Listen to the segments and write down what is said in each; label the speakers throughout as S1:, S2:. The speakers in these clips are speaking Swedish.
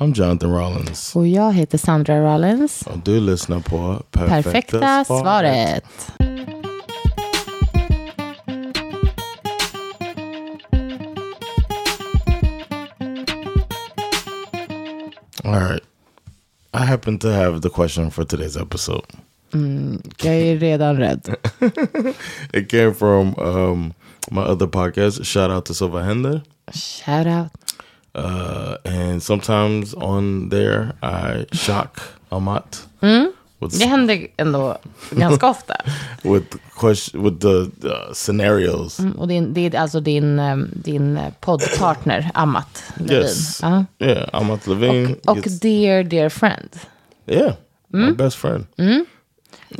S1: I'm Jonathan Rollins.
S2: Och jag heter Sandra Rollins.
S1: Och du lyssnar på Perfekta,
S2: Perfekta svaret.
S1: All right. I happen to have the question for today's episode.
S2: Jag är redan rädd.
S1: It came from um, my other podcast. Shout out to Silva Hender.
S2: Shout out.
S1: Uh, and sometimes on there, I shock Amat with
S2: Det händer ändå ganska ofta.
S1: with question with the uh, scenarios.
S2: Och din, det är alltså din, eh, din eh, poddpartner, Amat Levin.
S1: Yes,
S2: Ja.
S1: yeah, Amat Levine.
S2: Och
S1: gets-
S2: dear, dear friend
S1: yeah, my best friend.
S2: till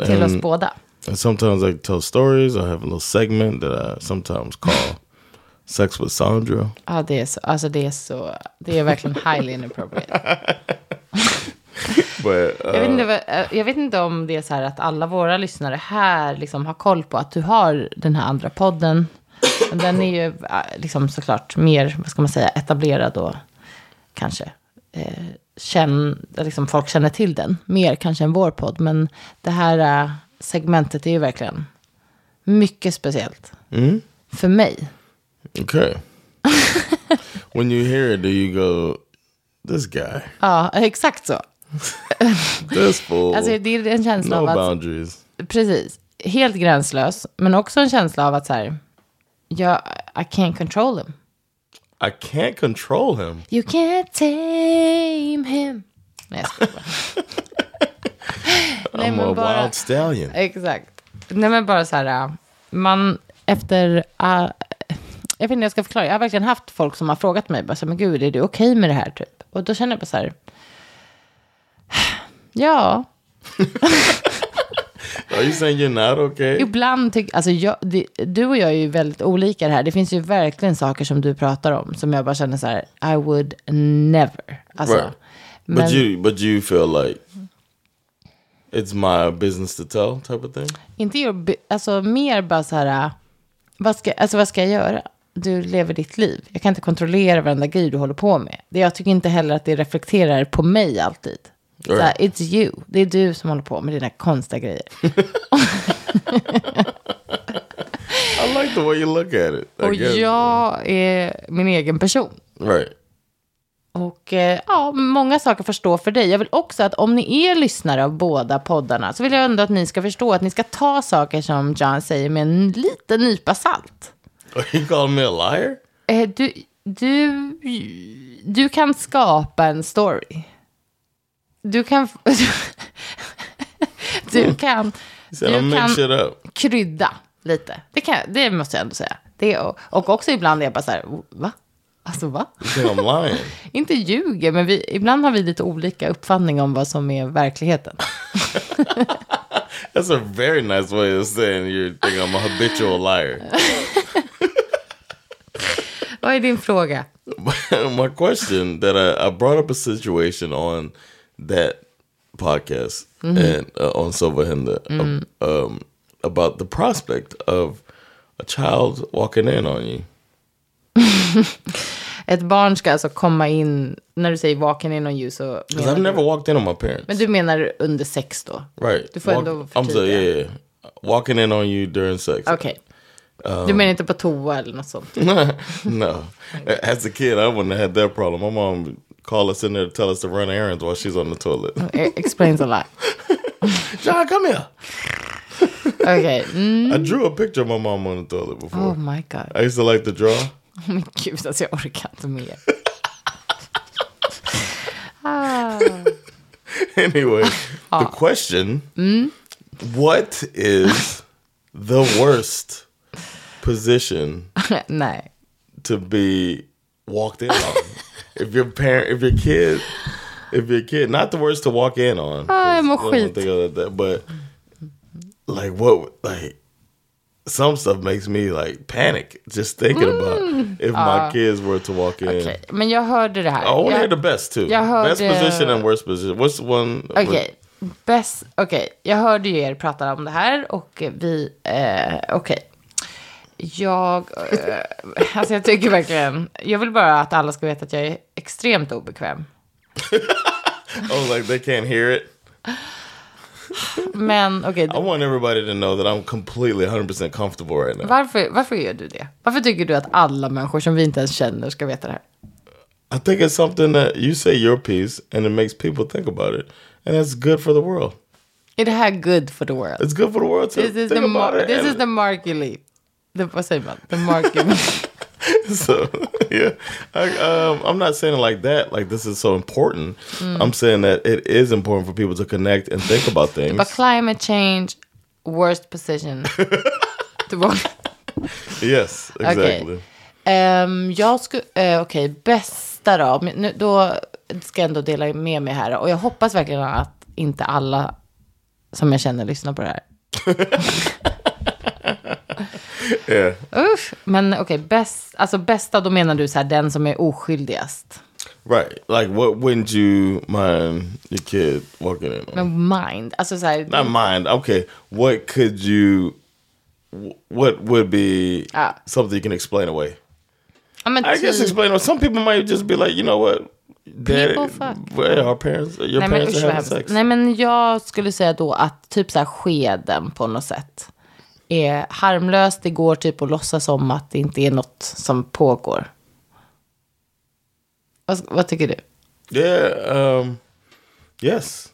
S1: Mm.
S2: oss båda.
S1: And sometimes I tell stories. I have a little segment that I sometimes call "Sex with Sandra."
S2: Ja, det är så. Alltså det är så. Det är verkligen highly inappropriate.
S1: But
S2: Jag
S1: uh,
S2: vet, inte, vad- eh, jag vet inte om det är så här att alla våra lyssnare här liksom har koll på att du har den här andra podden. Men Den är ju eh, liksom såklart mer, vad ska man säga, etablerad och kanske eh, känn, liksom folk känner till den. Mer kanske än vår podd. Men det här eh, segmentet är ju verkligen mycket speciellt. För mig.
S1: okay, when you hear it, do you go, "This guy,
S2: Ja, exakt så.
S1: this fool,
S2: Alltså det är en känsla
S1: no
S2: av att
S1: boundaries."
S2: Precis. Helt gränslös, men också en känsla av att så här, jag, I can't control him.
S1: I can't control him.
S2: You can't tame him. Nej, jag skojar bara. Nej,
S1: I'm a
S2: men bara,
S1: wild stallion.
S2: Exakt. Nej, men bara så här, äh, man efter, äh, jag vet inte hur jag ska förklara, jag har verkligen haft folk som har frågat mig, bara så här, men gud, är du okej med det här typ? Och då känner jag bara så här, ja,
S1: Are you saying you're not okay?
S2: Ibland tycker alltså jag, det, du och jag är ju väldigt olika i det här. Det finns ju verkligen saker som du pratar om som jag bara känner så här, I would never. Alltså,
S1: Right.
S2: men,
S1: But you, but you feel like it's my business to tell type of thing.
S2: inte gör, be- alltså mer bara så här, äh, vad ska, alltså, vad ska jag göra? Du lever ditt liv. Jag kan inte kontrollera varenda grej du håller på med. Det- Jag tycker inte heller att det reflekterar på mig alltid. Så här, it's you. Det är du som håller på med dina konstiga grejer.
S1: I like the way you look at it. I
S2: Och
S1: guess.
S2: jag är min egen person.
S1: Right.
S2: Och eh, ja, många saker förstå för dig. Jag vill också att om ni är lyssnare av båda poddarna så vill jag ändå att ni ska förstå att ni ska ta saker som John säger med en liten nypa salt.
S1: Are you calling me a liar?
S2: Eh, du, du, du kan skapa en story. Du kan... du kan...
S1: He said, I'll
S2: Du
S1: make
S2: kan
S1: shit up.
S2: krydda lite. Det, kan, det måste jag ändå säga. Det, och, och också ibland är jag bara så här, va? Alltså va?
S1: You think I'm lying?
S2: Inte ljuger, men vi, ibland har vi lite olika uppfattning om vad som är verkligheten.
S1: That's a very nice way of saying you think I'm a habitual liar.
S2: Vad är din fråga?
S1: My question that I, I brought up a situation on that podcast and uh, on Silva Hinda ab- um, about the prospect of a child walking in on you.
S2: Ett barn ska alltså komma in, när du säger vaken in on you så...
S1: Because
S2: Menar,
S1: I've never walked in on my parents.
S2: men du menar under sex då?
S1: right.
S2: Du får
S1: Walk-
S2: ändå
S1: I'm sorry,
S2: förtydliga.
S1: yeah, yeah. Walking in on you during sex.
S2: Okej. Du menar inte på toa eller något sånt?
S1: No. As a kid, I wouldn't have had that problem. My mom would call us in there to tell us to run errands while she's on the toilet.
S2: Eh, Explains a lot.
S1: John, come here.
S2: Okej. Mm.
S1: I drew a picture of my mom on the toilet before.
S2: Oh my god.
S1: I used to like to draw.
S2: Men gud, alltså jag orkar inte mer.
S1: Anyway, the question
S2: Mm-hmm.
S1: What is the worst position
S2: Nej.
S1: to be walked in on. if your parent, if your kid, if your kid, not the worst to walk in on.
S2: Ah, jag mår
S1: Don't wanna
S2: skit.
S1: think about that, but like what, like some stuff makes me like panic just thinking
S2: Mm-hmm.
S1: about if
S2: Ah.
S1: my kids were to walk in.
S2: Okej, Men jag hörde det här.
S1: I want to hear the
S2: jag,
S1: best too.
S2: jag hörde-
S1: Best position and worst position. What's the one?
S2: Okej, bäst. Okej, jag hörde ju er prata om det här och eh, vi, eh, okej. Jag, eh, alltså jag tycker verkligen, jag vill bara att alla ska veta att jag är extremt obekväm.
S1: Oh, like they can't hear it.
S2: Men okej,
S1: I want everybody to know that I'm completely 100% comfortable right now.
S2: varför, varför gör du det? Varför tycker du att alla människor som vi inte ens känner ska veta det här?
S1: I think it's something that you say your piece and it makes people think about it. And that's good for the world.
S2: Är det här good for the world?
S1: It's good for the world to
S2: This is
S1: think
S2: the,
S1: about
S2: mar-
S1: it.
S2: this
S1: and-
S2: is the Marky Lee. The, vad säger man? The Marky Lee.
S1: so yeah I, um, i'm not saying it like that like this is so important
S2: Mm.
S1: i'm saying that it is important for people to connect and think about things
S2: But climate change, worst position. Du var-
S1: yes exactly
S2: Ehm, jag skulle, eh, okej, bästa då. Men Nu, då ska jag ändå dela med mig här. Och jag hoppas verkligen att inte alla som jag känner lyssnar på det här.
S1: yeah
S2: Usch, men okej, bäst, alltså bästa, då menar du så här den som är oskyldigast.
S1: right like what wouldn't you mind your kid walking in on?
S2: Mind, alltså så här,
S1: not mind okay what could you wh- what would be
S2: Ah.
S1: something you can explain away
S2: ja, men
S1: i guess
S2: typ-
S1: explain away some people might just be like you know what
S2: People fuck.
S1: well, our parents your
S2: Nej men,
S1: parents
S2: usch,
S1: are
S2: vad
S1: having
S2: hemskt.
S1: sex
S2: Nej men jag skulle säga då att typ så här skeden på något sätt är harmlöst. Det går typ att låtsas som att det inte är något som pågår. Vad, vad tycker du?
S1: Yeah. Um, yes,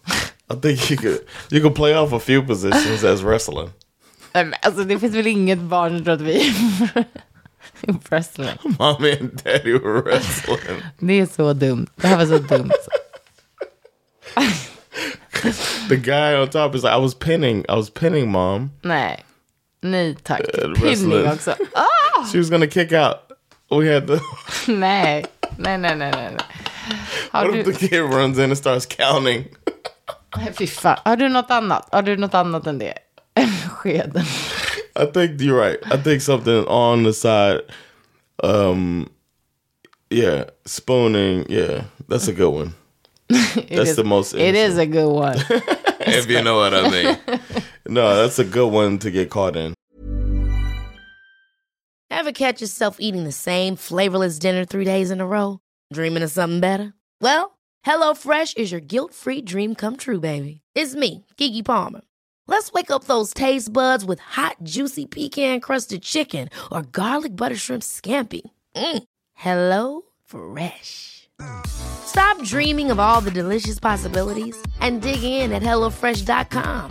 S1: I think you could you could play off a few positions as wrestling.
S2: Nej, men, alltså det finns väl inget barn som tror att vi är wrestling.
S1: Mommy and daddy were wrestling.
S2: Det är så dumt. Det här var så dumt.
S1: The guy on top is like, I was pinning, I was pinning mom.
S2: Nej. Nej tack.
S1: Äh,
S2: Pinning
S1: wrestling.
S2: också. Ah!
S1: She was gonna kick out. We had the.
S2: Nej. Nej, nej, nej, nej. nej. Har
S1: What if
S2: du...
S1: the kid runs in and starts counting?
S2: Nej, Fy fan. Har du något annat? Har du något annat än det? Skeden.
S1: I think you're right. I think something on the side. Um, yeah, spooning. Yeah, that's a good one. That's
S2: is-
S1: the most.
S2: It is a good one.
S1: if you know what I mean. no, that's a good one to get caught in.
S3: Ever catch yourself eating the same flavorless dinner three days in a row? Dreaming of something better? Well, HelloFresh is your guilt free dream come true, baby. It's me, Kiki Palmer. Let's wake up those taste buds with hot, juicy pecan crusted chicken or garlic butter shrimp scampi. Mm. Hello Fresh. Stop dreaming of all the delicious possibilities and dig in at HelloFresh.com.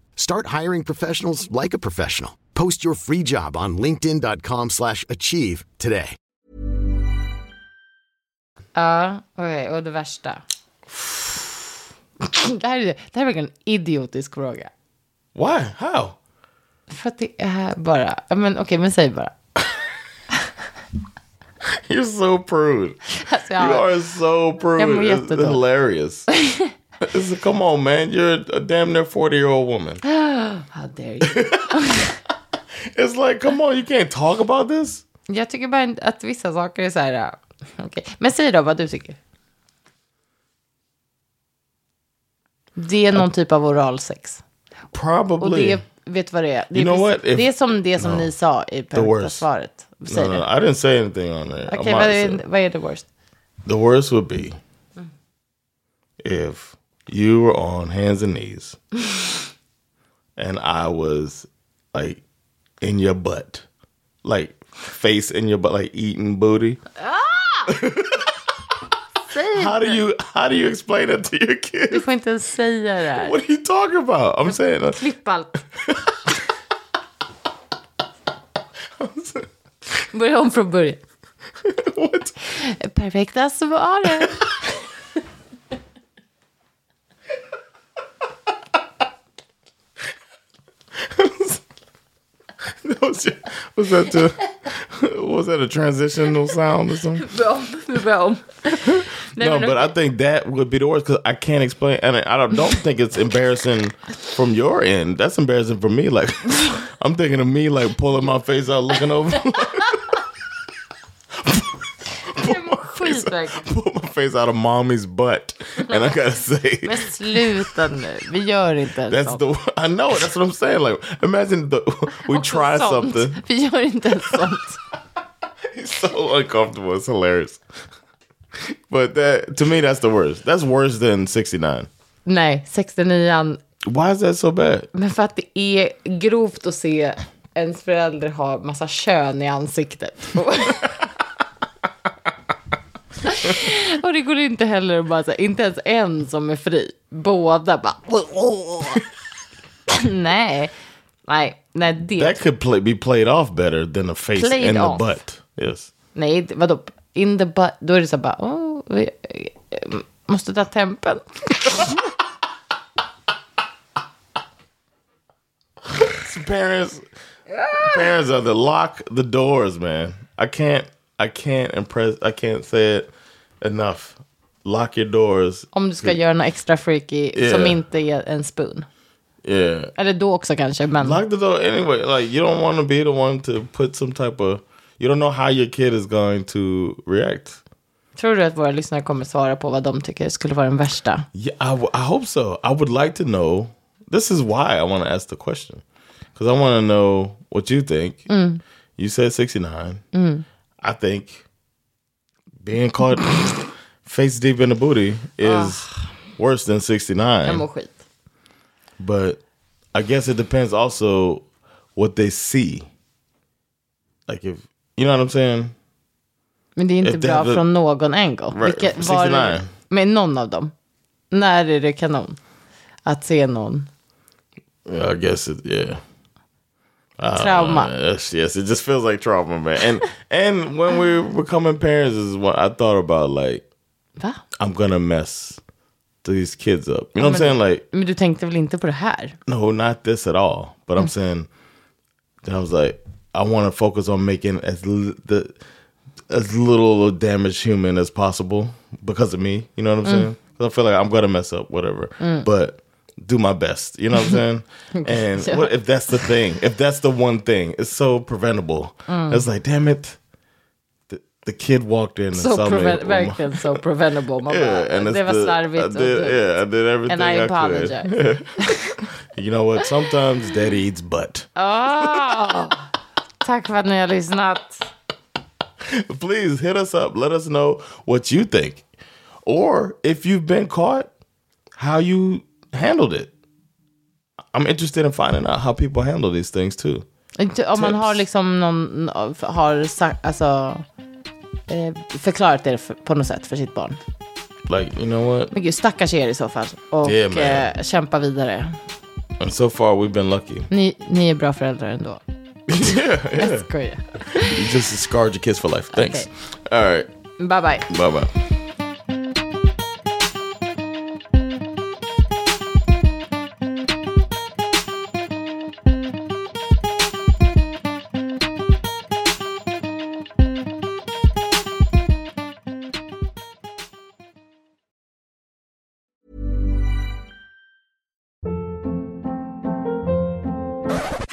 S4: Start hiring professionals like a professional. Post your free job on linkedin.com/achieve slash achieve today.
S2: Ja, okej. Och det värsta. Det här, är, det här är verkligen en idiotisk fråga.
S1: Why? How?
S2: För att det är bara... ja, Men okej, men säg bara.
S1: You're so prude.
S2: Alltså,
S1: You
S2: jag,
S1: are so prude.
S2: mår
S1: It's
S2: jättedåligt.
S1: hilarious. It's- come on, man. You're a damn near 40 year old woman.
S2: how dare you?
S1: It's like, come on, you can't talk about this?
S2: jag tycker bara inte att vissa saker är så här... ja, okej. Men säg då vad du tycker. Det är någon typ av oralsex. Och
S1: Probably.
S2: det, vet du vad det är? Det är,
S1: You know
S2: precis-
S1: what? If-
S2: det är som det som ni sa i
S1: worst.
S2: svaret. Säg
S1: No, no,
S2: det.
S1: no, I didn't say anything on there. I might
S2: Okej, vad,
S1: say-
S2: är- vad är the worst?
S1: The worst would be if you were on hands and knees and I was like in your butt, like face in your butt, like eating booty.
S2: Säg
S1: How do
S2: inte-
S1: you how do you explain it to your kids?
S2: Du får inte ens säga det här.
S1: What are you talking about? I'm saying uh,
S2: Klipp allt. Börja om från början.
S1: what?
S2: Perfekta svaret.
S1: That was, ju- was that the, was that a transitional sound or something?
S2: Börja om. Nu börjar om. Nej,
S1: No,
S2: men
S1: but I think that would be the worst because I can't explain, and I don't, don't think it's embarrassing from your end. That's embarrassing for me. Like I'm thinking of me like pulling my face out, looking over,
S2: Skit verkligen.
S1: pull my face out of mommy's butt, and I gotta say.
S2: Men sluta nu. Vi gör inte ens
S1: That's
S2: sånt.
S1: the I know that's what I'm saying. Like imagine the we
S2: Också
S1: try
S2: sånt.
S1: something.
S2: Vi gör inte ens sånt.
S1: It's so uncomfortable. It's hilarious. But that to me that's the worst. That's worse than 69.
S2: Nej, 69an.
S1: Why is that so bad?
S2: Men för att det är grovt att se ens förälder ha massa kön i ansiktet. Och det går inte heller att bara så här, inte ens en som är fri. Båda bara... nej, nej, nej, det.
S1: That could play, be played off better than the face
S2: Played
S1: and
S2: off.
S1: the butt. Yes.
S2: Nej, det- vadå? In the butt. Då är det så här bara, oh, vi, eh, måste ta tempen.
S1: Parents parents are the lock the doors, man. I can't I can't impress I can't say it enough. Lock your doors.
S2: Om du ska göra något extra freaky som
S1: Yeah.
S2: inte är en spoon.
S1: Yeah.
S2: Eller då också kanske, men...
S1: Lock the door anyway. Like you don't want to be the one to put some type of. You don't know how your kid is going to react.
S2: Tror du att våra lyssnare kommer svara på vad de tycker skulle vara den värsta?
S1: Yeah, I, w- I hope so. I would like to know. This is why I want to ask the question because I want to know what you think. You said sixty nine. I think being caught face deep in the booty is worse than sixty
S2: Jag
S1: nine.
S2: mår skit.
S1: But I guess it depends also what they see. Like if you know what I'm saying.
S2: Men det är inte
S1: If they
S2: bra
S1: have a-
S2: från någon angle.
S1: Right,
S2: var det,
S1: 69.
S2: med någon av dem. När är det kanon? Att se någon
S1: Yeah, I guess it. Yeah.
S2: trauma.
S1: Uh, yes, yes. It just feels like trauma, man. And and when we're becoming parents is what I thought about. Like
S2: Va?
S1: I'm gonna mess these kids up. You know what I'm saying? Like
S2: Men du tänkte väl inte på det här?
S1: no, not this at all. But
S2: Mm.
S1: I'm saying. Then I was like, I want to focus on making as l- the as little damage human as possible because of me. You know what
S2: Mm.
S1: I'm saying? 'Cause I feel like I'm gonna mess up, whatever. But do my best. You know what I'm saying? and what if that's the thing? If that's the one thing, it's so preventable.
S2: Mm.
S1: It's like, damn it. The, the kid walked in and
S2: So
S1: saw me.
S2: preven-
S1: with my-
S2: verkligen så preventable. Man
S1: yeah,
S2: bara,
S1: and it's
S2: det var
S1: the-
S2: slarvigt.
S1: I
S2: och
S1: did,
S2: dumt.
S1: yeah, I did everything
S2: And
S1: I,
S2: I apologize.
S1: could. You know what? Sometimes daddy eats butt.
S2: Ah! Tack för att ni har lyssnat.
S1: please hit us up. Let us know what you think. Or if you've been caught, how you handled it. I'm interested in finding out how people handle these things too.
S2: Inte- Om man
S1: Tips.
S2: har liksom någon, har sagt, alltså, eh, förklarat det för, på något sätt för sitt barn.
S1: Like, you know what?
S2: Men gud, stackars er i så fall. Och
S1: Yeah, man.
S2: eh, kämpa vidare.
S1: And so far we've been lucky.
S2: Ni, ni är bra föräldrar ändå.
S1: yeah, yeah.
S2: Skoja.
S1: You just scarred your kids for life. Thanks.
S2: Okay.
S1: All right.
S2: Bye bye.
S1: Bye bye.